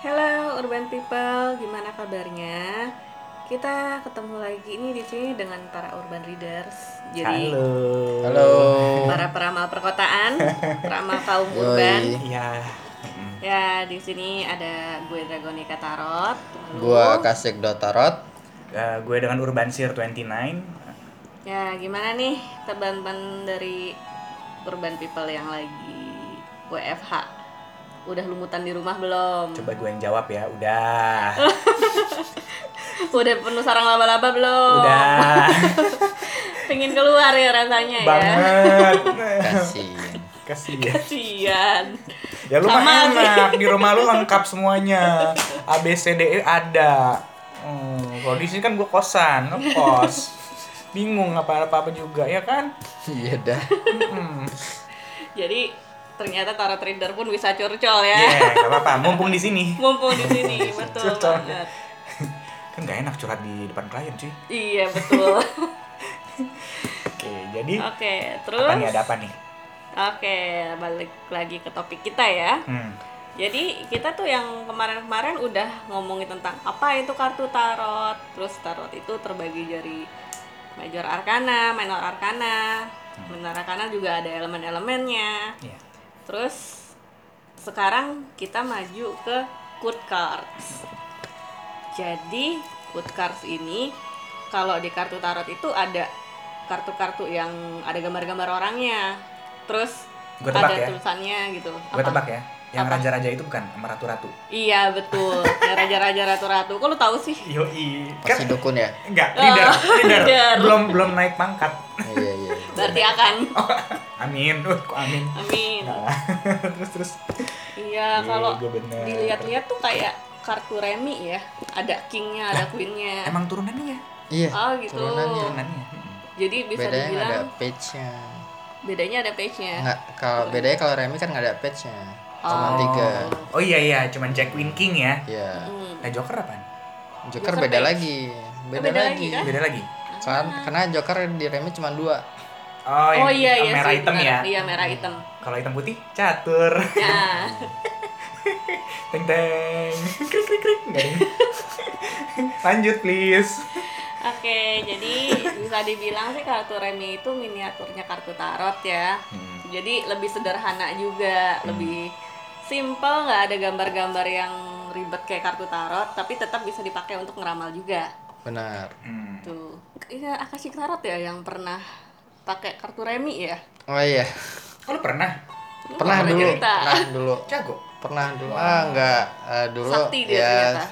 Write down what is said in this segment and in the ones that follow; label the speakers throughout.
Speaker 1: Hello Urban People, gimana kabarnya? Kita ketemu lagi nih di sini dengan para urban readers. Jadi
Speaker 2: Halo.
Speaker 3: Halo.
Speaker 1: para peramal perkotaan, peramal kaum urban.
Speaker 3: Yoi.
Speaker 2: Ya.
Speaker 1: Ya, di sini ada gue Dragonika Tarot. lalu-
Speaker 3: Gua Kasek Dotarot.
Speaker 2: eh, gue dengan Urban Sir 29.
Speaker 1: Ya, gimana nih teman-teman dari urban people yang lagi WFH? Udah lumutan di rumah belum?
Speaker 2: Coba gue yang jawab ya. Udah.
Speaker 1: Udah penuh sarang laba-laba belum?
Speaker 2: Udah.
Speaker 1: Pengen keluar ya rasanya ya.
Speaker 2: Banget.
Speaker 3: Kasih.
Speaker 2: Kasihan.
Speaker 1: Kasian.
Speaker 2: Ya lu mah
Speaker 1: Sama sih.
Speaker 2: enak. Di rumah lu lengkap semuanya. A B C D E ada. Hmm, kalau di sini kan gue kosan, ngekos. Bingung apa-apa juga ya kan?
Speaker 3: Iya dah.
Speaker 2: Hmm.
Speaker 1: Jadi ternyata tarot reader pun bisa curcol
Speaker 2: Ya,
Speaker 1: ya.
Speaker 2: nggak apa-apa. Mumpung di sini.
Speaker 1: Mumpung di sini, betul
Speaker 2: Curcol.
Speaker 1: banget.
Speaker 2: Kan gak enak curhat di depan klien, cuy.
Speaker 1: Iya, betul.
Speaker 2: Oke, jadi
Speaker 1: Oke,
Speaker 2: apa nih
Speaker 1: terus
Speaker 2: ada apa nih?
Speaker 1: Oke, balik lagi ke topik kita ya.
Speaker 2: Hmm.
Speaker 1: Jadi kita tuh yang kemarin-kemarin udah ngomongin tentang apa itu kartu tarot, terus tarot itu terbagi dari major arkana, minor arkana,
Speaker 2: Hmm.
Speaker 1: minor arkana juga ada elemen-elemennya.
Speaker 2: Iya.
Speaker 1: Terus sekarang kita maju ke good cards. Jadi good cards ini kalau di kartu tarot itu ada kartu-kartu yang ada gambar-gambar orangnya. Terus
Speaker 2: Gua tebak
Speaker 1: ada
Speaker 2: ya.
Speaker 1: tulisannya gitu.
Speaker 2: Gue
Speaker 1: Apa?
Speaker 2: tebak ya. Yang
Speaker 1: Apa?
Speaker 2: raja-raja itu bukan sama ratu-ratu.
Speaker 1: Iya betul. Ya, raja-raja ratu-ratu. Kok lu tahu sih?
Speaker 2: Yoi.
Speaker 1: Kan.
Speaker 2: Kan
Speaker 3: Masih dukun ya?
Speaker 2: Enggak,
Speaker 1: Oh,
Speaker 2: leader, leader.
Speaker 1: leader.
Speaker 2: Belum belum naik pangkat.
Speaker 3: Iya iya.
Speaker 1: Berarti akan.
Speaker 2: Oh. Amin. Uh, kok amin.
Speaker 1: Amin.
Speaker 2: Nah, terus terus.
Speaker 1: Iya kalau
Speaker 2: Iya, gua bener.
Speaker 1: dilihat-lihat tuh kayak kartu remi ya. Ada kingnya, ada queennya.
Speaker 2: Emang turunannya ya?
Speaker 3: Iya.
Speaker 1: Oh gitu.
Speaker 3: Turunannya.
Speaker 2: Turunannya. ya?
Speaker 1: Jadi bisa
Speaker 3: bedanya nggak
Speaker 1: dibilang Ya.
Speaker 3: ada page-nya.
Speaker 1: bedanya ada page-nya.
Speaker 3: Nggak kalau bedanya kalau Remy kan nggak ada page-nya. Cuma tiga.
Speaker 2: Oh iya iya, cuman Jack Queen King ya.
Speaker 3: Iya.
Speaker 1: Hmm.
Speaker 2: Nah, Joker apaan?
Speaker 3: Joker,
Speaker 1: Joker
Speaker 3: beda
Speaker 1: page.
Speaker 3: lagi. Beda,
Speaker 1: beda lagi
Speaker 3: lagi.
Speaker 1: kan? Ah.
Speaker 2: Beda lagi.
Speaker 3: Kan, karena Joker di Remy cuma dua.
Speaker 2: Oh, yang
Speaker 1: Oh iya iya
Speaker 2: merah
Speaker 1: sih,
Speaker 2: hitam
Speaker 1: benar.
Speaker 2: ya.
Speaker 1: Iya merah hitam.
Speaker 2: Kalau hitam putih catur.
Speaker 1: Nah,
Speaker 2: Teng teng. Krik krik krik. Nggak ada. Lanjut please.
Speaker 1: oke. jadi bisa dibilang sih kartu remi itu miniaturnya kartu tarot ya.
Speaker 2: Hmm.
Speaker 1: Jadi lebih sederhana juga, lebih simple, nggak ada gambar-gambar yang ribet kayak kartu tarot, tapi tetap bisa dipakai untuk ngeramal juga.
Speaker 3: Benar.
Speaker 2: Hmm.
Speaker 1: Tuh. Iya, Akashic Tarot ya yang pernah pakai kartu remi ya.
Speaker 3: Oh iya.
Speaker 2: Oh, lu pernah?
Speaker 1: Lu nggak
Speaker 3: Pernah dulu.
Speaker 1: cerita.
Speaker 3: Pernah dulu.
Speaker 2: Jago.
Speaker 3: Pernah dulu. Ah enggak. Eh, dulu
Speaker 1: Sakti dia
Speaker 3: ya
Speaker 1: ternyata.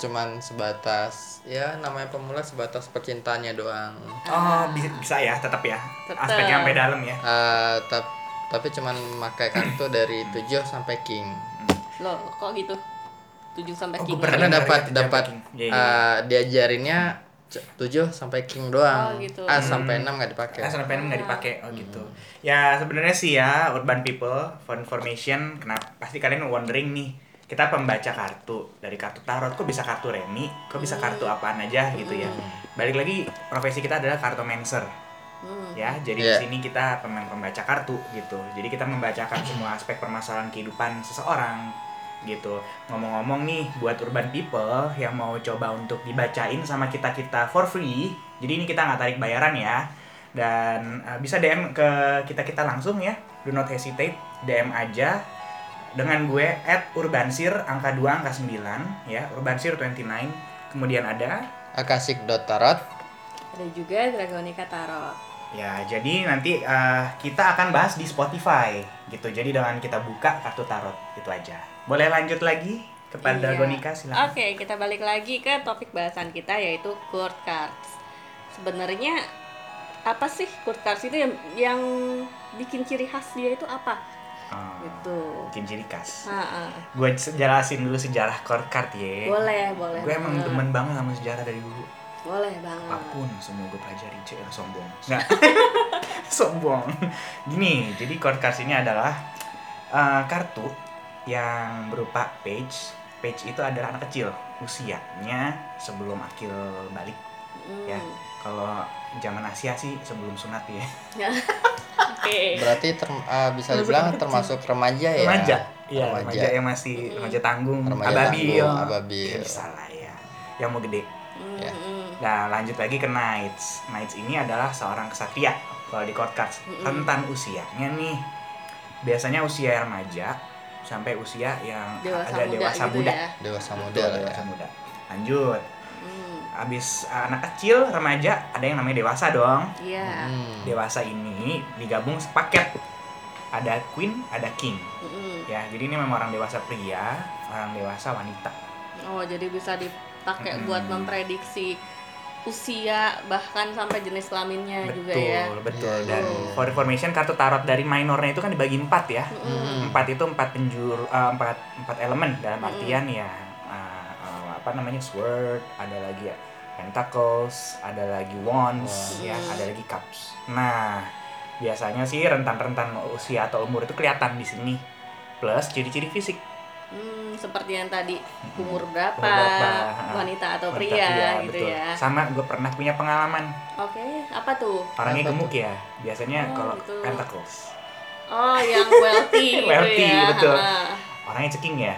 Speaker 3: cuman sebatas ya namanya pemula sebatas percintaannya doang.
Speaker 2: Oh, bisa, bisa ya, tetap ya.
Speaker 1: Tetap.
Speaker 2: Aspeknya sampai dalam ya.
Speaker 3: Eh, tap- tapi cuman memakai kartu dari 7 sampai king.
Speaker 1: Loh, kok gitu? 7 sampai
Speaker 2: Oh,
Speaker 1: king.
Speaker 2: gua pernah
Speaker 3: Karena
Speaker 2: dengar
Speaker 3: dapat
Speaker 2: itu,
Speaker 3: dapat
Speaker 2: jam king. Iya, iya.
Speaker 3: eh, diajarinnya c- 7 sampai king doang.
Speaker 1: Oh, gitu.
Speaker 3: A sampai 6 nggak dipakai.
Speaker 2: Ah, sampai nggak dipakai oh
Speaker 3: Hmm.
Speaker 2: gitu. Ya sebenarnya sih ya urban people for information kenapa pasti kalian wondering nih kita pembaca kartu dari kartu tarot kok bisa kartu remi kok bisa kartu apaan aja gitu ya
Speaker 3: Hmm.
Speaker 2: balik lagi profesi kita adalah kartomancer
Speaker 1: Hmm.
Speaker 2: ya jadi
Speaker 3: Iya.
Speaker 2: di sini kita memang pembaca kartu gitu jadi kita membacakan semua aspek permasalahan kehidupan seseorang gitu ngomong-ngomong nih buat urban people yang mau coba untuk dibacain sama kita kita for free jadi ini kita nggak tarik bayaran ya dan eh, bisa dm ke kita kita langsung ya do not hesitate dm aja dengan gue at urbansir angka 2 angka 9 ya urbansir 29 kemudian ada
Speaker 3: Akashic Ah, dot tarot.
Speaker 1: Ada juga Dragonica Tarot.
Speaker 2: Ya, jadi nanti eh, kita akan bahas di Spotify gitu. Jadi dengan kita buka kartu tarot gitu aja. Boleh lanjut lagi kepada
Speaker 1: Iya.
Speaker 2: Gonika silakan.
Speaker 1: Oke, kita balik lagi ke topik bahasan kita yaitu court cards. Sebenarnya apa sih court cards itu yang, yang bikin ciri khas dia itu apa?
Speaker 2: Ah,
Speaker 1: Gitu.
Speaker 2: Bikin ciri khas.
Speaker 1: Ah, ah.
Speaker 2: Gue jelasin dulu sejarah court card ya.
Speaker 1: Boleh, boleh.
Speaker 2: Gue emang
Speaker 1: banget.
Speaker 2: demen banget sama sejarah dari dulu.
Speaker 1: Boleh banget.
Speaker 2: Apapun semua gue pelajari, cek sombong. Nggak. sombong. Gini, jadi court cards ini adalah eh, kartu yang berupa page. Page itu adalah anak kecil, usianya sebelum akil balik.
Speaker 1: Hmm.
Speaker 2: Ya. Kalau zaman Asia sih sebelum sunat ya.
Speaker 1: Oke.
Speaker 3: Berarti ter- eh, bisa dibilang ah, termasuk remaja ya.
Speaker 2: Remaja. Iya,
Speaker 3: Remaja.
Speaker 2: remaja. yang masih remaja tanggung,
Speaker 3: Remaja
Speaker 2: ababil.
Speaker 3: tanggung, ababil.
Speaker 2: Ya, bisa lah ya. Yang mau gede.
Speaker 1: Mm,
Speaker 3: Ya.
Speaker 1: mm.
Speaker 2: Nah, lanjut lagi ke Knights. Knights ini adalah seorang kesatria kalau di court cards. Rentan usianya nih. Biasanya usia remaja sampai usia yang
Speaker 1: Dewasa
Speaker 2: agak
Speaker 1: muda
Speaker 2: dewasa
Speaker 1: gitu
Speaker 2: muda.
Speaker 1: ya.
Speaker 3: dewasa muda
Speaker 2: Betul,
Speaker 3: lah ya
Speaker 2: dewasa muda. Lanjut.
Speaker 1: Mm,
Speaker 2: Abis uh, anak kecil, remaja, ada yang namanya dewasa dong.
Speaker 1: Iya.
Speaker 3: Hmm.
Speaker 2: Dewasa ini digabung sepaket. Ada queen, ada king.
Speaker 1: Mm, mm.
Speaker 2: Ya, jadi ini memang orang dewasa pria, orang dewasa wanita.
Speaker 1: Oh, jadi bisa dipakai
Speaker 2: Mm-mm.
Speaker 1: buat memprediksi usia bahkan sampai jenis kelaminnya juga
Speaker 2: Betul,
Speaker 1: ya.
Speaker 2: betul.
Speaker 3: Iya,
Speaker 2: Dan
Speaker 3: iya.
Speaker 2: for information kartu tarot dari minornya itu kan dibagi empat ya.
Speaker 3: Hmm.
Speaker 1: Mm-mm.
Speaker 2: Empat itu empat penjuru, eh, empat empat elemen dalam artian ya eh, eh, apa namanya sword, ada lagi ya pentacles, ada lagi
Speaker 1: Wah.
Speaker 2: wands, ya,
Speaker 1: Hmm.
Speaker 2: ada lagi cups. Nah, biasanya sih rentan-rentan usia atau umur itu kelihatan di sini. Plus ciri-ciri fisik.
Speaker 1: Hmm, seperti yang tadi umur berapa,
Speaker 2: berapa,
Speaker 1: wanita atau
Speaker 2: Wanita,
Speaker 1: pria
Speaker 2: iya,
Speaker 1: gitu
Speaker 2: betul.
Speaker 1: ya.
Speaker 2: Sama gue pernah punya pengalaman
Speaker 1: Oke, apa tuh?
Speaker 2: orangnya
Speaker 3: Apa
Speaker 2: gemuk ya biasanya
Speaker 1: Oh,
Speaker 2: kalau
Speaker 1: gitu.
Speaker 2: pentacles
Speaker 1: Oh, yang wealthy gitu
Speaker 2: Wealthy,
Speaker 1: ya.
Speaker 2: betul.
Speaker 1: Ah.
Speaker 2: orangnya ceking ya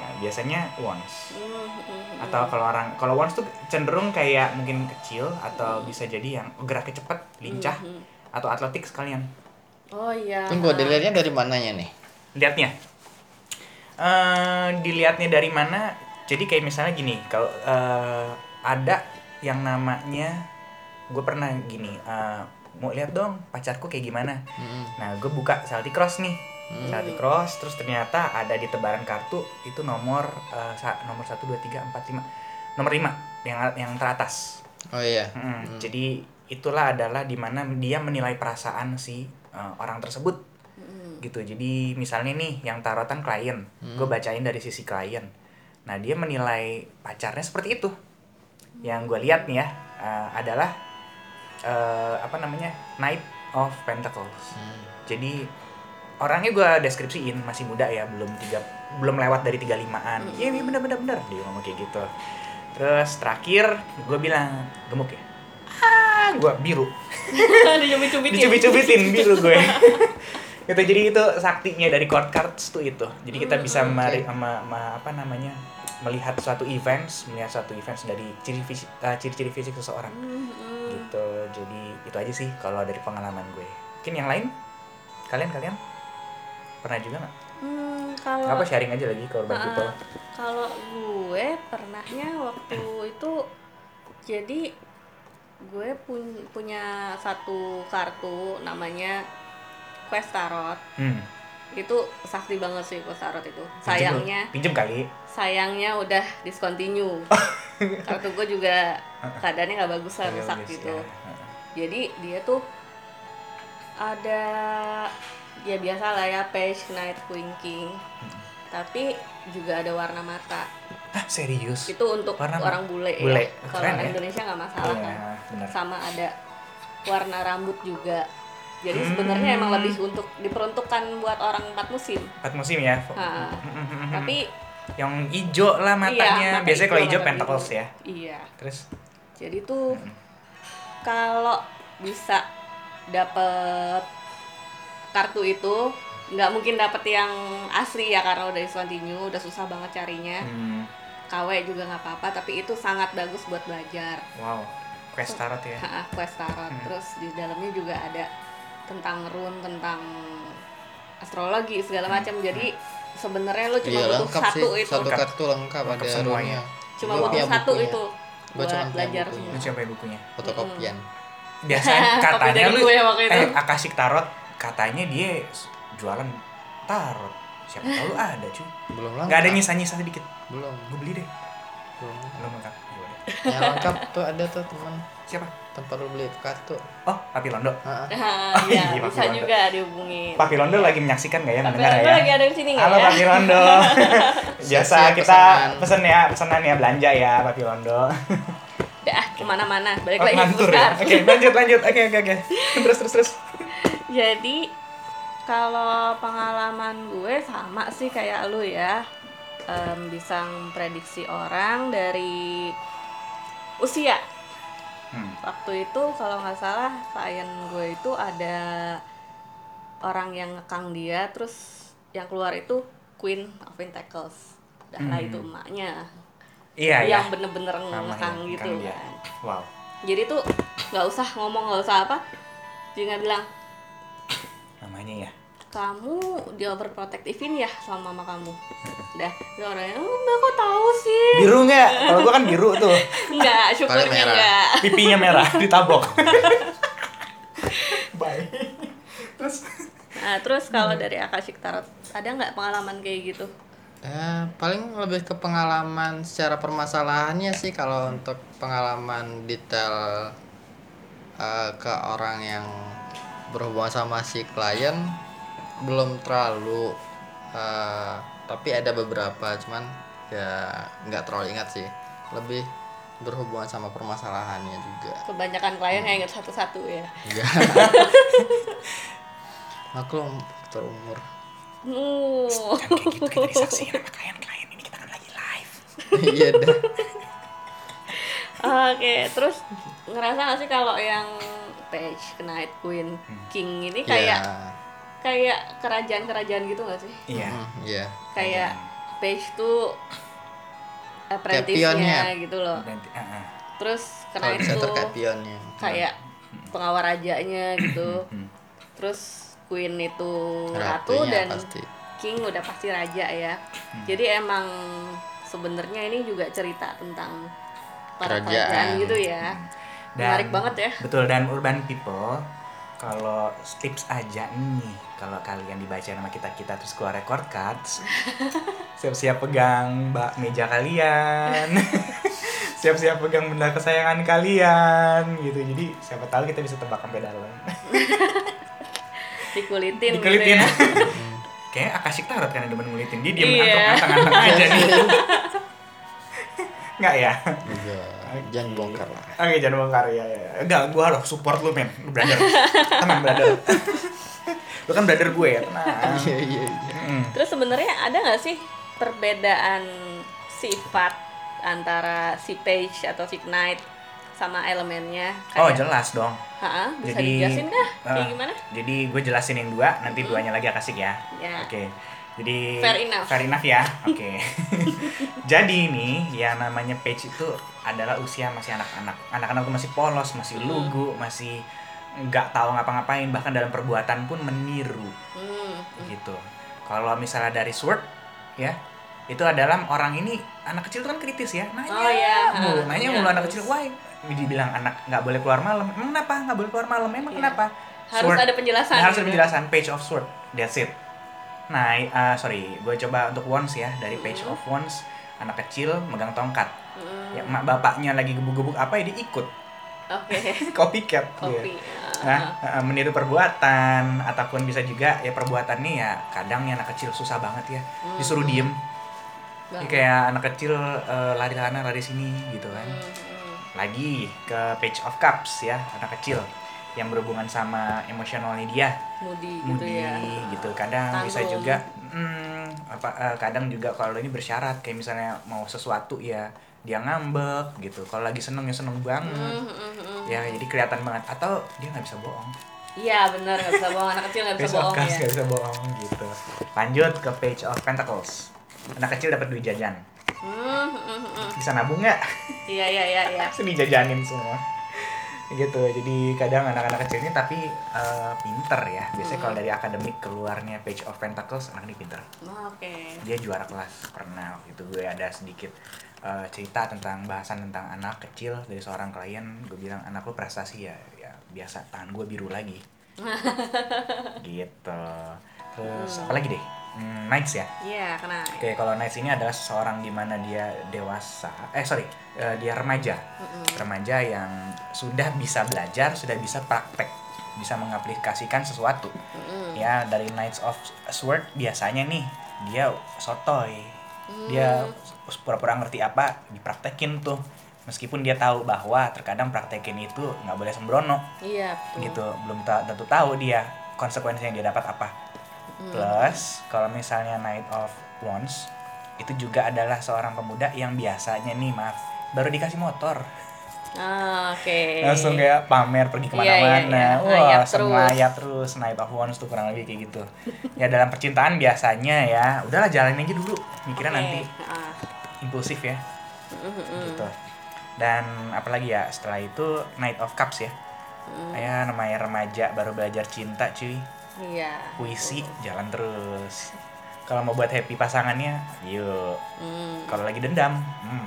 Speaker 2: ya biasanya wands
Speaker 1: Mm, mm, mm.
Speaker 2: atau kalau orang kalau wands tuh cenderung kayak mungkin kecil atau bisa jadi yang geraknya cepat lincah
Speaker 1: Mm, mm.
Speaker 2: atau atletik sekalian
Speaker 1: Oh iya.
Speaker 3: ini gua dilihatnya dari mananya nih
Speaker 2: lihatnya eh dilihatnya dari mana jadi kayak misalnya gini kalau eh, ada yang namanya gue pernah gini eh, mau lihat dong pacarku kayak gimana
Speaker 3: Mm-mm.
Speaker 2: Nah, gue buka Salty Cross nih. Salty Cross terus ternyata ada di tebaran kartu itu nomor eh, sa- nomor 1 2 3 4 5. Nomor 5 yang yang teratas.
Speaker 3: oh iya
Speaker 2: Mm, Jadi itulah adalah dimana dia menilai perasaan si eh, orang tersebut
Speaker 1: Mm,
Speaker 2: gitu. Jadi misalnya nih yang tarotan klien, gue bacain dari sisi klien. Nah, dia menilai pacarnya seperti itu. Yang gue lihat nih ya eh, adalah eh, apa namanya? Knight of Pentacles.
Speaker 3: Hmm.
Speaker 2: Jadi orangnya gue deskripsiin masih muda ya, belum tiga belum lewat dari 35-an. Iya, iya, bener bener bener dia ngomong kayak gitu. Terus terakhir gue bilang gemuk ya. Ah, gue biru.
Speaker 1: mm. Dicubit-cubitin.
Speaker 2: Dicubit-cubitin biru gue. itu jadi itu saktinya dari court cards tuh itu. Jadi kita bisa mari- ma- ma- apa namanya? melihat suatu events, melihat suatu events dari ciri fisik eh, ciri-ciri fisik seseorang
Speaker 1: Mm, mm.
Speaker 2: gitu. Jadi itu aja sih kalau dari pengalaman gue. Mungkin yang lain kalian kalian pernah juga nggak?
Speaker 1: Hmm,
Speaker 2: Nggak
Speaker 1: kalau
Speaker 2: apa sharing aja lagi ke urban
Speaker 1: Ah,
Speaker 2: people.
Speaker 1: Kalau gue pernahnya waktu itu jadi gue pun- punya satu kartu namanya Quest Tarot.
Speaker 2: Hmm.
Speaker 1: Itu sakti banget sih Quest Tarot itu. Sayangnya
Speaker 2: pinjem kali.
Speaker 1: sayangnya udah discontinue. kartu gue juga keadaannya nggak bagus lah rusak
Speaker 2: Bagus,
Speaker 1: gitu.
Speaker 2: ya. Heeh.
Speaker 1: Jadi dia tuh ada ya biasa lah ya page knight queen king.
Speaker 2: Hmm.
Speaker 1: Tapi juga ada warna mata
Speaker 2: Hah, Ah, serius.
Speaker 1: itu untuk
Speaker 2: Warna apa?
Speaker 1: orang bule,
Speaker 2: Bule.
Speaker 1: ya kalau
Speaker 2: Keren
Speaker 1: orang
Speaker 2: ya.
Speaker 1: Indonesia nggak masalah
Speaker 2: Iya,
Speaker 1: kan
Speaker 2: benar.
Speaker 1: sama ada warna rambut juga jadi
Speaker 2: Hmm.
Speaker 1: sebenarnya emang lebih untuk diperuntukkan buat orang empat musim
Speaker 2: Empat musim ya.
Speaker 1: Ah, tapi
Speaker 2: hmm. yang ijo lah matanya.
Speaker 1: iya, mata
Speaker 2: Biasanya kalau
Speaker 1: hijau,
Speaker 2: ijo
Speaker 1: mata
Speaker 2: pentacles
Speaker 1: biru.
Speaker 2: ya.
Speaker 1: iya
Speaker 2: Terus
Speaker 1: jadi tuh kalau bisa dapet kartu itu nggak mungkin dapet yang asli ya karena udah discontinue udah susah banget carinya
Speaker 2: hmm,
Speaker 1: KW juga nggak apa-apa tapi itu sangat bagus buat belajar
Speaker 2: wow. Quest tarot ya.
Speaker 1: Ha, quest tarot. Terus di dalamnya juga ada tentang rune, tentang astrologi segala
Speaker 2: Hmm.
Speaker 1: macam. Jadi sebenarnya lo cuma
Speaker 3: iya
Speaker 1: butuh
Speaker 3: lengkap
Speaker 1: satu
Speaker 3: sih
Speaker 1: itu.
Speaker 3: satu
Speaker 2: Lengkap.
Speaker 3: kartu lengkap
Speaker 2: Lengkap
Speaker 3: ada
Speaker 2: semuanya.
Speaker 3: roomnya
Speaker 1: Cuma
Speaker 3: Gua
Speaker 1: butuh
Speaker 3: punya ya?
Speaker 1: satu
Speaker 3: bukunya.
Speaker 1: itu
Speaker 3: Gua
Speaker 1: buat
Speaker 3: cuma punya
Speaker 1: belajar
Speaker 3: bukunya.
Speaker 1: semua.
Speaker 2: Lu siapa bukunya?
Speaker 3: fotokopian
Speaker 1: Hmm.
Speaker 2: Biasanya
Speaker 1: Kopi
Speaker 2: katanya
Speaker 1: dari
Speaker 2: lu
Speaker 1: gue waktu itu.
Speaker 2: eh Akashic tarot katanya dia jualan tarot. Siapa tahu lu ada cuy.
Speaker 3: belum lengkap
Speaker 2: Nggak ada nyisa-nyisa sedikit.
Speaker 3: belum
Speaker 2: Gue beli deh.
Speaker 3: belum
Speaker 2: Belum lengkap. Gua ada.
Speaker 3: yang lengkap tuh ada tuh teman
Speaker 2: Siapa?
Speaker 3: tempat lu beli kartu
Speaker 2: Oh, Papi Londo.
Speaker 3: Ha-ha.
Speaker 1: Ah,
Speaker 2: Oh,
Speaker 1: iya,
Speaker 2: iya, Papi
Speaker 1: bisa
Speaker 2: Londo.
Speaker 1: juga dihubungin.
Speaker 2: Papi Londo lagi menyaksikan nggak ya
Speaker 1: Tapi
Speaker 2: mendengar
Speaker 1: gue
Speaker 2: ya?
Speaker 1: lagi ada di sini nggak
Speaker 2: Halo
Speaker 1: ya?
Speaker 2: Papi Londo. Biasa
Speaker 3: Siap-siap
Speaker 2: kita
Speaker 3: pesanan.
Speaker 2: pesen ya, pesenan ya belanja ya Papi Londo.
Speaker 1: Dah, ah, kemana-mana. Balik
Speaker 2: Oh,
Speaker 1: lagi ke
Speaker 2: ngantur ya.
Speaker 1: Ustaz.
Speaker 2: Oke, lanjut lanjut. Oke oke oke. Terus terus terus.
Speaker 1: Jadi kalau pengalaman gue sama sih kayak lu ya Em, bisa memprediksi orang dari usia.
Speaker 2: Hmm.
Speaker 1: Waktu itu kalau nggak salah klien gue itu ada orang yang ngekang dia, terus yang keluar itu Queen of Pentacles. Udah lah
Speaker 2: Hmm.
Speaker 1: itu emaknya
Speaker 2: Iya ya.
Speaker 1: yang bener-bener
Speaker 2: Sama
Speaker 1: ngekang
Speaker 2: yang
Speaker 1: gitu
Speaker 2: ngekang dia.
Speaker 1: kan.
Speaker 2: Wow.
Speaker 1: Jadi tuh nggak usah ngomong nggak usah apa. Juga bilang
Speaker 2: Namanya ya.
Speaker 1: kamu di overprotectivein ya sama mama kamu. Udah, dia orangnya, "Oh, mbak kok tahu sih?
Speaker 2: Biru nggak? Kalau gua kan biru tuh.
Speaker 1: Enggak, syukurnya
Speaker 3: merah.
Speaker 1: enggak.
Speaker 2: Pipinya merah ditabok. Baik. Terus
Speaker 1: Nah, terus kalau dari Akashic Tarot, ada nggak pengalaman kayak gitu?
Speaker 3: Eh, paling lebih ke pengalaman secara permasalahannya sih kalau untuk pengalaman detail eh, ke orang yang berhubungan sama si klien belum terlalu eh, tapi ada beberapa cuman ya nggak terlalu ingat sih lebih berhubungan sama permasalahannya juga
Speaker 1: Kebanyakan klien nggak inget satu-satu ya.
Speaker 3: Iya. maklum um-, faktor umur
Speaker 1: Uh,
Speaker 2: jangan kayak gitu kita disaksikan sama klien-klien ini kita kan lagi live.
Speaker 3: iya dah
Speaker 1: Oke, terus ngerasa nggak sih kalau yang Page, Knight, Queen,
Speaker 2: Mm.
Speaker 1: King
Speaker 2: Iya.
Speaker 1: ini
Speaker 3: Iya.
Speaker 1: kayak kayak kerajaan-kerajaan gitu nggak sih?
Speaker 2: Iya.
Speaker 3: Hmm, iya
Speaker 1: Kayak Page tuh
Speaker 3: pionnya.
Speaker 1: apprentice-nya gitu loh.
Speaker 2: Nanti, ah, ah.
Speaker 1: Terus
Speaker 3: kalau
Speaker 1: Knight
Speaker 3: di center
Speaker 1: tuh
Speaker 3: kayak pionnya
Speaker 1: kayak pengawal rajanya gitu.
Speaker 2: Hmm.
Speaker 1: Terus Queen itu ratu dan
Speaker 3: Ratunya pasti Hmm.
Speaker 1: King udah pasti raja ya. Jadi emang sebenarnya ini juga cerita tentang para
Speaker 3: Kerajaan.
Speaker 1: kerajaan gitu ya. Menarik banget ya.
Speaker 2: Betul dan urban people kalau tips aja nih kalau kalian dibaca nama kita kita terus keluar record cards siap-siap pegang bak meja kalian siap-siap pegang benda kesayangan kalian gitu jadi siapa tahu kita bisa tebak sampai dalam
Speaker 1: Dikulitin, gitu
Speaker 2: dikelitin
Speaker 1: ya.
Speaker 2: kayak akasik tarot kan yang demen ngulitin dia diem
Speaker 1: Iya.
Speaker 2: ngantong-ngantong aja nih nggak ya
Speaker 3: juga Iya. jangan bongkar lah
Speaker 2: Oke, jangan bongkar ya. ya. Enggak, gua loh support lu, men. Lu brother. Tenang, brother. lu kan brother gue ya, tenang.
Speaker 3: iya iya iya
Speaker 2: Mm.
Speaker 1: Terus sebenarnya ada nggak sih perbedaan sifat antara si page atau si knight sama elemennya?
Speaker 2: Oh,
Speaker 1: Kayak,
Speaker 2: jelas dong.
Speaker 1: Ha-ha, bisa
Speaker 2: Jadi,
Speaker 1: dijelasin kah? Kayak
Speaker 2: eh,
Speaker 1: gimana?
Speaker 2: Jadi gue jelasin yang dua, nanti duanya lagi kasih ya.
Speaker 1: Ya.
Speaker 2: Oke. Jadi
Speaker 1: Fair enough.
Speaker 2: ya. Oke. Jadi ini yang namanya page itu adalah usia masih anak-anak. Anak-anak itu masih polos, masih
Speaker 1: Hmm.
Speaker 2: lugu, masih nggak tahu ngapa-ngapain bahkan dalam perbuatan pun meniru.
Speaker 1: Hmm,
Speaker 2: gitu. Kalau misalnya dari Sword ya itu adalah orang ini anak kecil tuh kan kritis ya nanya
Speaker 1: Oh, iya.
Speaker 2: mulu
Speaker 1: Ah,
Speaker 2: nanya
Speaker 1: iya,
Speaker 2: mulu anak
Speaker 1: terus.
Speaker 2: kecil why dibilang anak nggak boleh keluar malam emang kenapa nggak boleh keluar malam emang
Speaker 1: Iya.
Speaker 2: kenapa
Speaker 1: Harus
Speaker 2: Sword.
Speaker 1: ada penjelasan.
Speaker 2: harus ada
Speaker 1: gitu.
Speaker 2: penjelasan page of sword that's it nah eh, sorry gue coba untuk wands ya dari page
Speaker 1: Mm.
Speaker 2: of wands anak kecil megang tongkat
Speaker 1: Hmm,
Speaker 2: ya emak bapaknya lagi gebuk-gebuk apa ya dia ikut
Speaker 1: Oke,
Speaker 2: copycat dia.
Speaker 1: kopi.
Speaker 2: Iya.
Speaker 1: Ah,
Speaker 2: Nah, eh, meniru perbuatan ataupun bisa juga ya perbuatannya ya kadang nih anak kecil susah banget ya
Speaker 1: Hmm.
Speaker 2: disuruh diem
Speaker 1: Bang.
Speaker 2: Ya, kayak anak kecil eh, lari sana lari sini gitu kan
Speaker 1: Hmm, hmm.
Speaker 2: lagi ke page of cups ya anak kecil yang berhubungan sama emosionalnya dia
Speaker 1: Moody gitu
Speaker 2: mudi
Speaker 1: ya.
Speaker 2: gitu kadang bisa
Speaker 1: Tanggung.
Speaker 2: juga mm, apa eh, kadang juga kalau ini bersyarat kayak misalnya mau sesuatu ya dia ngambek gitu kalau lagi seneng ya seneng banget
Speaker 1: Hmm, hmm, hmm.
Speaker 2: ya jadi kelihatan banget atau dia nggak bisa bohong
Speaker 1: Iya benar nggak bisa bohong anak kecil nggak bisa
Speaker 2: Page of
Speaker 1: bohong
Speaker 2: Cups
Speaker 1: ya.
Speaker 2: nggak bisa bohong gitu lanjut ke page of pentacles anak kecil dapat duit jajan
Speaker 1: Hmm, hmm, hmm, hmm.
Speaker 2: bisa nabung nggak
Speaker 1: Iya iya iya iya.
Speaker 2: langsung dijajanin semua gitu jadi kadang anak-anak kecil ini tapi eh, pinter ya biasanya
Speaker 1: Hmm.
Speaker 2: kalau dari akademik keluarnya page of pentacles anak ini pinter
Speaker 1: Oh, Oke.
Speaker 2: dia juara kelas pernah waktu itu gue ada sedikit eh, cerita tentang bahasan tentang anak kecil dari seorang klien gue bilang anak lu prestasi ya ya biasa tangan gue biru lagi gitu terus apa lagi deh Hmm, Knights ya
Speaker 1: Iya kena.
Speaker 2: oke kalau Knights ini adalah seseorang di mana dia dewasa eh sorry eh, dia remaja
Speaker 1: Mm-mm.
Speaker 2: remaja yang sudah bisa belajar, sudah bisa praktek, bisa mengaplikasikan sesuatu.
Speaker 1: Mm-mm.
Speaker 2: Ya, dari Knights of Sword biasanya nih dia sotoy. Dia pura-pura ngerti apa dipraktekin tuh. Meskipun dia tahu bahwa terkadang praktekin itu nggak boleh sembrono
Speaker 1: Iya betul.
Speaker 2: gitu. Belum ta- tentu tahu dia konsekuensi yang dia dapat apa. Plus, kalau misalnya Knight of Wands itu juga adalah seorang pemuda yang biasanya nih maaf baru dikasih motor
Speaker 1: Ah, Oke.
Speaker 2: langsung kayak pamer pergi kemana-mana
Speaker 1: Iya, iya, iya.
Speaker 2: wah
Speaker 1: Ngayap terus.
Speaker 2: semayat terus naik performance tuh kurang lebih kayak gitu ya dalam percintaan biasanya ya udahlah jalanin aja dulu mikirnya
Speaker 1: Oke,
Speaker 2: nanti
Speaker 1: ah.
Speaker 2: impulsif ya
Speaker 1: Mm, mm, mm.
Speaker 2: gitu dan apalagi ya setelah itu night of cups ya
Speaker 1: Hmm.
Speaker 2: ya namanya remaja baru belajar cinta cuy
Speaker 1: Iya.
Speaker 2: puisi jalan terus kalau mau buat happy pasangannya yuk
Speaker 1: Mm,
Speaker 2: kalau lagi dendam hmm,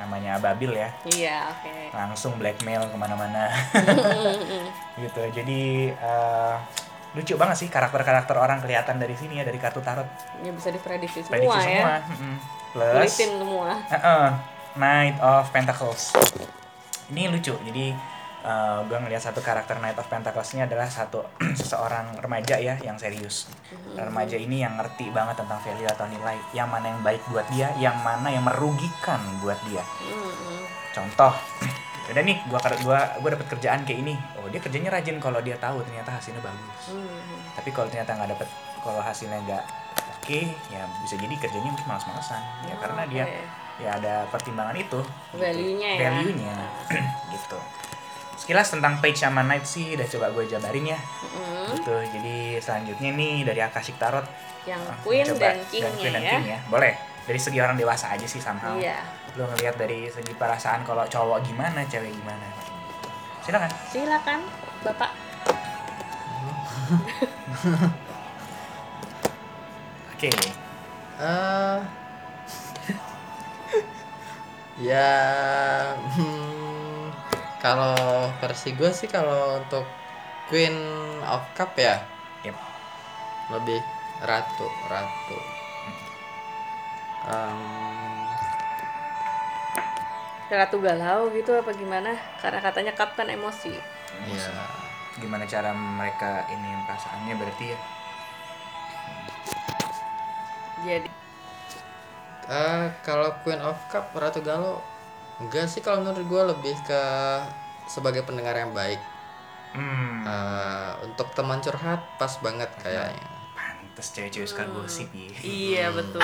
Speaker 2: namanya ababil ya
Speaker 1: Iya, oke.
Speaker 2: langsung blackmail kemana-mana
Speaker 1: Mm, mm.
Speaker 2: gitu jadi eh, lucu banget sih karakter-karakter orang kelihatan dari sini ya dari kartu tarot
Speaker 1: Ini bisa diprediksi semua
Speaker 2: prediksi
Speaker 1: ya.
Speaker 2: semua Mm-mm. plus
Speaker 1: Tulisin semua.
Speaker 2: Heeh, Knight of Pentacles. Ini lucu. Jadi eh, gua ngelihat satu karakter Knight of Pentacles ini adalah satu seseorang remaja ya yang serius.
Speaker 1: Mm-hmm.
Speaker 2: Remaja ini yang ngerti banget tentang value atau nilai, yang mana yang baik buat dia, yang mana yang merugikan buat dia.
Speaker 1: Mm, mm.
Speaker 2: Contoh, udah nih gua ker- gua gua dapat kerjaan kayak ini. Oh, dia kerjanya rajin kalau dia tahu ternyata hasilnya bagus.
Speaker 1: Mm.
Speaker 2: Tapi kalau ternyata nggak dapet kalau hasilnya nggak oke, ya bisa jadi kerjanya mungkin malas-malasan. Ya karena dia
Speaker 1: Oh, Oke.
Speaker 2: ya ada pertimbangan itu gitu.
Speaker 1: Value-nya ya.
Speaker 2: value-nya gitu sekilas tentang page sama night sih udah coba gue jabarin ya
Speaker 1: Mm,
Speaker 2: gitu jadi selanjutnya nih dari akashic tarot
Speaker 1: Yang
Speaker 2: eh,
Speaker 1: Hmm, queen
Speaker 2: coba-
Speaker 1: dan
Speaker 2: dan queen
Speaker 1: king-nya
Speaker 2: dan
Speaker 1: ya.
Speaker 2: king ya boleh dari segi orang dewasa aja sih somehow
Speaker 1: Iya.
Speaker 2: lo ngelihat dari segi perasaan kalau cowok gimana cewek gimana gitu. silakan
Speaker 1: Silakan, Bapak.
Speaker 2: oke
Speaker 3: eh ya hmm, kalau versi gue sih kalau untuk Queen of Cup ya
Speaker 2: Yep.
Speaker 3: lebih ratu ratu Em,
Speaker 1: Ratu galau gitu apa gimana? Karena katanya cup kan emosi.
Speaker 3: ya
Speaker 2: gimana cara mereka ini perasaannya berarti ya
Speaker 1: Jadi
Speaker 3: Eh, kalau Queen of Cup ratu galau enggak sih kalau menurut gue lebih ke sebagai pendengar yang baik
Speaker 2: hmm
Speaker 3: Eh, untuk teman curhat pas banget kayaknya
Speaker 2: pantes cewek-cewek suka gosip ya
Speaker 1: iya betul.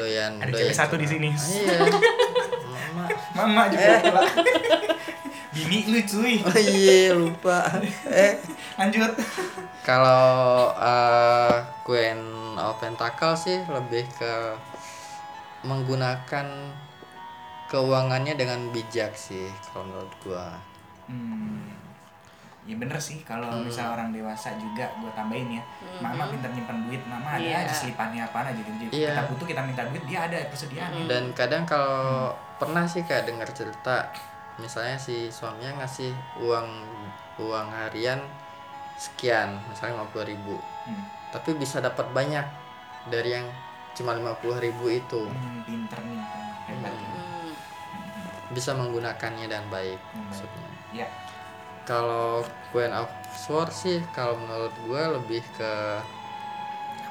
Speaker 3: doyan
Speaker 2: Ada
Speaker 3: doyan
Speaker 2: cewek satu di sini.
Speaker 3: curhat. iya mama
Speaker 2: Mama juga pula. Bini lu cuy.
Speaker 3: oh iya lupa eh
Speaker 2: Lanjut.
Speaker 3: kalau eh, Queen of Pentacle sih lebih ke menggunakan keuangannya dengan bijak sih kalau menurut gua
Speaker 2: Hmm. Ya bener sih kalau misal orang dewasa juga gue tambahin ya.
Speaker 1: Mm,
Speaker 2: Mama pintar nyimpan duit, mama ada
Speaker 1: Iya.
Speaker 2: aja selipannya apa aja gitu.
Speaker 3: Iya.
Speaker 2: Kita butuh kita minta duit, dia ada persediaan.
Speaker 3: dan kadang kalau pernah sih kayak dengar cerita misalnya si suaminya ngasih uang uang harian sekian misalnya 50.000 ribu
Speaker 2: Hmm.
Speaker 3: tapi bisa dapat banyak dari yang cuma 50.000 ribu itu
Speaker 2: Hmm, pinter nih. Hebat.
Speaker 1: Mm.
Speaker 3: bisa menggunakannya dengan baik
Speaker 2: Hmm.
Speaker 3: maksudnya
Speaker 2: Ya.
Speaker 3: kalau Queen of Swords sih kalau menurut gue lebih ke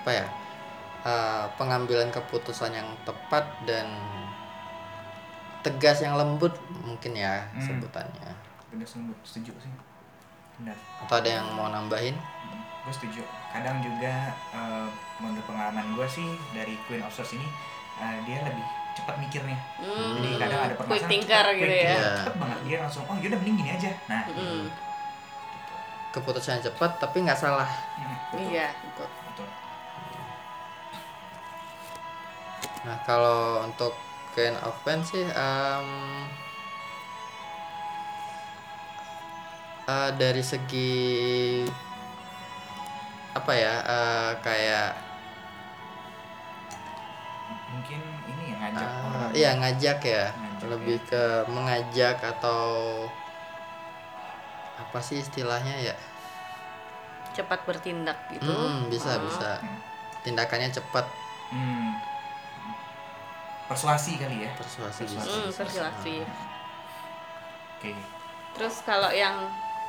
Speaker 3: apa ya eh, pengambilan keputusan yang tepat dan tegas yang lembut mungkin ya
Speaker 2: Hmm.
Speaker 3: sebutannya
Speaker 2: Bener sih, gua setuju sih. Bener.
Speaker 3: atau ada yang mau nambahin
Speaker 2: gue setuju kadang juga eh, menurut pengalaman gue sih dari Queen of Swords ini eh, dia lebih cepat mikirnya
Speaker 1: Hmm.
Speaker 2: jadi kadang ada
Speaker 1: Quick
Speaker 2: permasalahan
Speaker 1: thinker
Speaker 2: cepet,
Speaker 1: gitu
Speaker 2: quick
Speaker 3: Iya.
Speaker 1: ya.
Speaker 2: thinker, cepet banget dia langsung oh yaudah mending gini aja nah
Speaker 1: Mm.
Speaker 3: keputusan yang cepat tapi nggak salah
Speaker 2: mm,
Speaker 1: Iya, betul.
Speaker 2: betul
Speaker 3: nah kalau untuk Queen of Wands sih em, eh, dari segi apa ya eh, kayak
Speaker 2: mungkin ini yang ngajak
Speaker 3: Ah,
Speaker 2: orang
Speaker 3: iya ngajak ya
Speaker 2: Ngajak,
Speaker 3: lebih ke mengajak atau apa sih istilahnya ya
Speaker 1: Cepat bertindak gitu.
Speaker 3: Hmm, bisa
Speaker 1: Ah.
Speaker 3: bisa tindakannya cepat
Speaker 2: Hmm. persuasi kali ya
Speaker 3: persuasif
Speaker 1: Hmm, persuasif.
Speaker 2: oke
Speaker 1: Terus kalau yang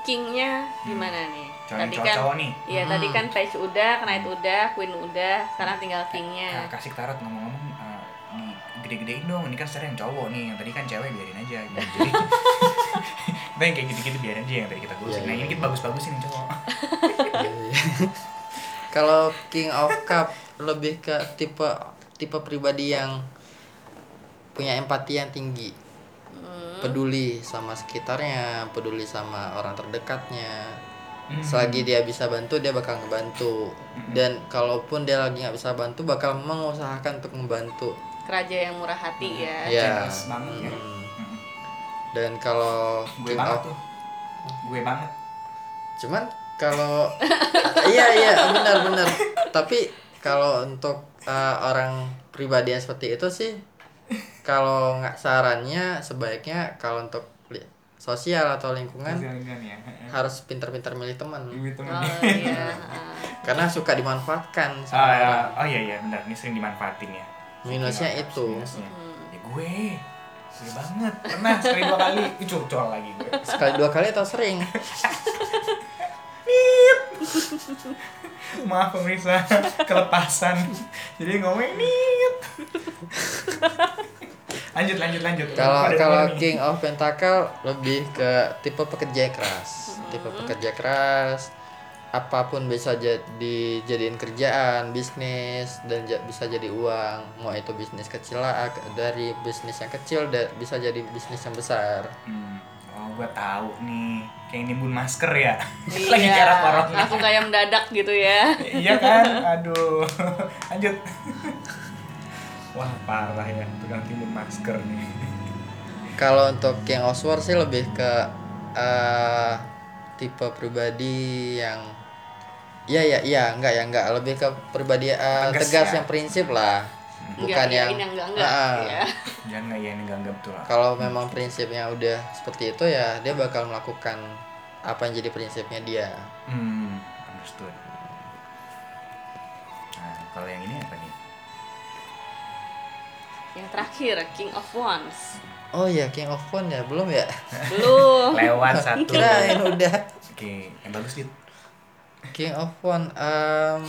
Speaker 1: kingnya gimana nih?
Speaker 2: cowok
Speaker 1: Tadi kan
Speaker 2: cowok nih
Speaker 1: Iya
Speaker 3: Hmm.
Speaker 1: tadi kan page udah, knight udah, queen udah, sekarang tinggal
Speaker 2: Nah,
Speaker 1: kingnya.
Speaker 2: kasih tarot ngomong-ngomong eh, di gede-gedein dong ini kan sekarang yang cowok nih yang tadi kan cewek biarin aja
Speaker 3: Iya.
Speaker 2: gitu. jadi kita yang kayak gitu-gitu biarin aja yang tadi kita gosip
Speaker 3: Iya,
Speaker 2: nah
Speaker 3: iya,
Speaker 2: ini kita
Speaker 3: iya.
Speaker 2: bagus-bagusin yang cowok
Speaker 3: kalau King of Cup lebih ke tipe tipe pribadi yang punya empati yang tinggi peduli sama sekitarnya peduli sama orang terdekatnya
Speaker 2: Hmm.
Speaker 3: selagi dia bisa bantu dia bakal ngebantu dan kalaupun dia lagi nggak bisa bantu bakal mengusahakan untuk membantu
Speaker 1: Keraja yang murah hati
Speaker 2: Hmm.
Speaker 1: ya.
Speaker 3: ya
Speaker 2: Generous banget ya.
Speaker 3: mm. dan kalau
Speaker 2: gue
Speaker 3: kita-
Speaker 2: banget tuh gue banget
Speaker 3: cuman kalau iya iya benar benar tapi kalau untuk eh, orang pribadi yang seperti itu sih kalau nggak sarannya sebaiknya kalau untuk li- sosial atau lingkungan
Speaker 2: Kasihan ya. Heeh.
Speaker 3: harus pintar-pintar milih teman
Speaker 2: Gitu, men.
Speaker 1: Oh iya. ah.
Speaker 3: karena suka dimanfaatkan sama
Speaker 2: Ah, ya.
Speaker 3: orang.
Speaker 2: oh iya iya benar ini sering dimanfaatin ya
Speaker 3: minusnya
Speaker 2: Minus-
Speaker 3: itu
Speaker 2: minusnya. ya gue gue banget pernah sekali dua kali ucul-ucul lagi gue
Speaker 3: sekali dua kali atau sering
Speaker 2: maaf pemirsa kelepasan jadi ngomongin nit lanjut lanjut lanjut
Speaker 3: kalau
Speaker 2: Ada
Speaker 3: kalau
Speaker 2: temen nih.
Speaker 3: King of Pentacle lebih ke tipe pekerja keras tipe pekerja keras apapun bisa jadi dijadiin kerjaan bisnis dan ja- bisa jadi uang mau itu bisnis kecil lah ak- dari bisnis yang kecil da- bisa jadi bisnis yang besar
Speaker 2: hmm. oh gue tahu nih kayak nimbun masker ya
Speaker 1: Iya.
Speaker 2: lagi cara corona
Speaker 1: Langsung kayak mendadak gitu ya.
Speaker 2: iya kan aduh lanjut wah parah ya tukang timbun masker nih
Speaker 3: kalau untuk King of Swords sih lebih ke eh, tipe pribadi yang Iya iya iya enggak ya enggak lebih ke pribadi eh,
Speaker 2: Tegas
Speaker 3: tegas
Speaker 2: ya.
Speaker 3: yang prinsip lah bukan
Speaker 1: Nggak
Speaker 3: yang
Speaker 1: iyain ya, yang nggak nggak,
Speaker 3: Ah,
Speaker 1: ya.
Speaker 2: jangan nggak ya ini nggak nggak betul lah
Speaker 3: kalau memang prinsipnya udah seperti itu ya dia bakal melakukan apa yang jadi prinsipnya dia
Speaker 2: hmm understood nah kalau yang ini apa nih
Speaker 1: Yang terakhir King of Wands.
Speaker 3: oh ya King of Phone ya belum ya
Speaker 1: Belum.
Speaker 2: lewat satu oke
Speaker 3: kirain udah
Speaker 2: yang bagus dit
Speaker 3: King of Phone em,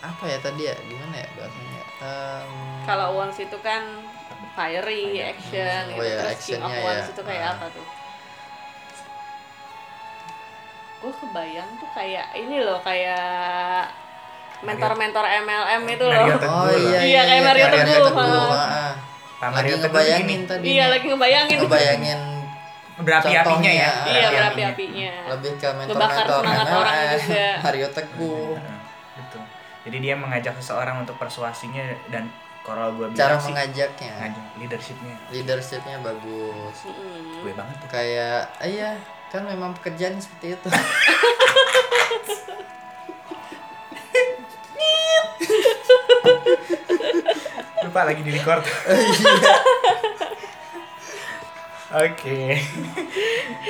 Speaker 3: apa ya tadi ya gimana ya bahasanya Em,
Speaker 1: Kalau Wands itu kan fiery action gitu.
Speaker 3: Hmm, oh
Speaker 1: Terus
Speaker 3: ya,
Speaker 1: King of
Speaker 3: actionnya
Speaker 1: Wands
Speaker 3: ya.
Speaker 1: itu kayak
Speaker 3: Ah.
Speaker 1: apa tuh? Gue kebayang tuh kayak ini loh kayak mentor-mentor MLM itu loh.
Speaker 2: Mario Teguh
Speaker 3: oh
Speaker 2: loh.
Speaker 3: iya
Speaker 1: Iya, kayak Mario
Speaker 2: Teguh,
Speaker 1: Teguh,
Speaker 3: ah,
Speaker 1: ah.
Speaker 3: ah.
Speaker 2: Pak
Speaker 3: lagi
Speaker 2: Mario Teguh
Speaker 3: ngebayangin
Speaker 2: gini.
Speaker 3: tadi
Speaker 1: Iya
Speaker 3: nih.
Speaker 1: lagi ngebayangin.
Speaker 3: ngebayangin
Speaker 2: berapi-apinya ya
Speaker 3: Contohnya,
Speaker 1: Iya
Speaker 3: Berapi-apinya.
Speaker 1: berapi apinya.
Speaker 3: lebih ke
Speaker 1: Ngebakar
Speaker 3: mentor-mentor
Speaker 1: semangat orang juga.
Speaker 3: MLM Mario Teguh
Speaker 2: gitu jadi dia mengajak seseorang untuk persuasinya dan kalau gue bilang
Speaker 3: cara
Speaker 2: Iya sih Nah,
Speaker 3: mengajaknya
Speaker 2: ngajak leadershipnya
Speaker 3: leadershipnya bagus
Speaker 2: gue banget tuh
Speaker 3: kayak ah, iya kan memang pekerjaan seperti itu
Speaker 2: lupa lagi di record oke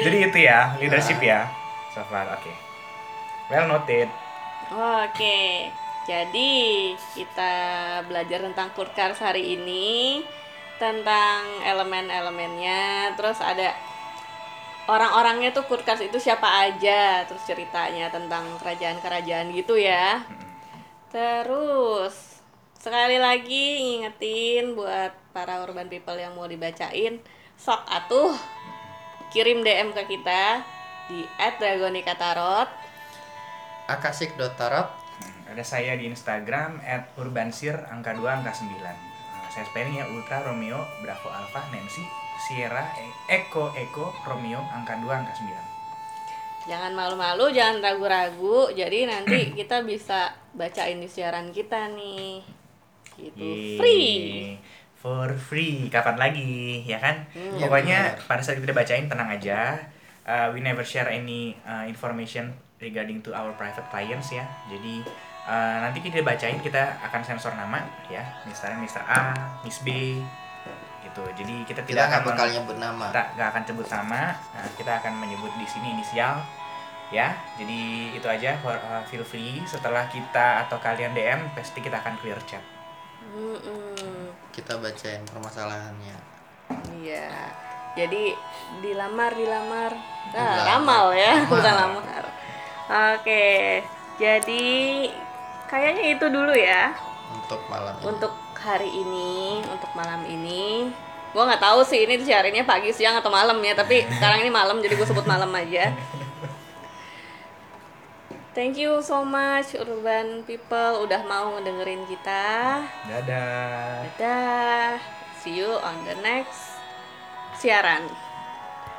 Speaker 2: jadi itu ya leadership ya so far oke well noted
Speaker 1: Oke, jadi kita belajar tentang Kurkars hari ini tentang elemen-elemennya, terus ada orang-orangnya tuh Kurkars itu siapa aja, terus ceritanya tentang kerajaan-kerajaan gitu ya. Terus sekali lagi ngingetin buat para urban people yang mau dibacain, sok atuh kirim DM ke kita di @dragonikatarot
Speaker 3: akasik dotarot
Speaker 2: Hmm, ada saya di Instagram at urbansir angka 2 angka 9 saya spelling ya Ultra Romeo Bravo Alpha Nancy Sierra E- Eko Eko Romeo angka 2 angka 9
Speaker 1: Jangan malu-malu, jangan ragu-ragu. Jadi nanti kita bisa bacain di siaran kita nih. Gitu.
Speaker 2: Iya.
Speaker 1: Free.
Speaker 2: Yeay. for free kapan lagi ya kan
Speaker 1: Hmm.
Speaker 2: pokoknya pada saat kita bacain tenang aja Uh, we never share any uh, information regarding to our private clients ya jadi uh, nanti kita bacain kita akan sensor nama ya misalnya Mr. A Miss B gitu jadi kita
Speaker 3: kita
Speaker 2: tidak
Speaker 3: nggak
Speaker 2: akan
Speaker 3: bakal nyebut nama
Speaker 2: kita nggak akan sebut nama nah, kita akan menyebut di sini inisial ya jadi itu aja for, uh, feel free setelah kita atau kalian DM pasti kita akan clear chat
Speaker 1: Mm-mm.
Speaker 3: kita bacain permasalahannya
Speaker 1: Iya. Jadi dilamar dilamar. Nah,
Speaker 3: Dilamar.
Speaker 1: ramal ya,
Speaker 3: Ramal.
Speaker 1: bukan lamar. Oke. Jadi kayaknya itu dulu ya
Speaker 3: untuk malam ini.
Speaker 1: untuk hari ini, untuk malam ini. Gua nggak tahu sih ini disiarinnya pagi, siang atau malam ya, tapi sekarang ini malam jadi gue sebut malam aja. Thank you so much Urban People udah mau dengerin kita.
Speaker 2: Dadah.
Speaker 1: Dadah. See you on the next siaran.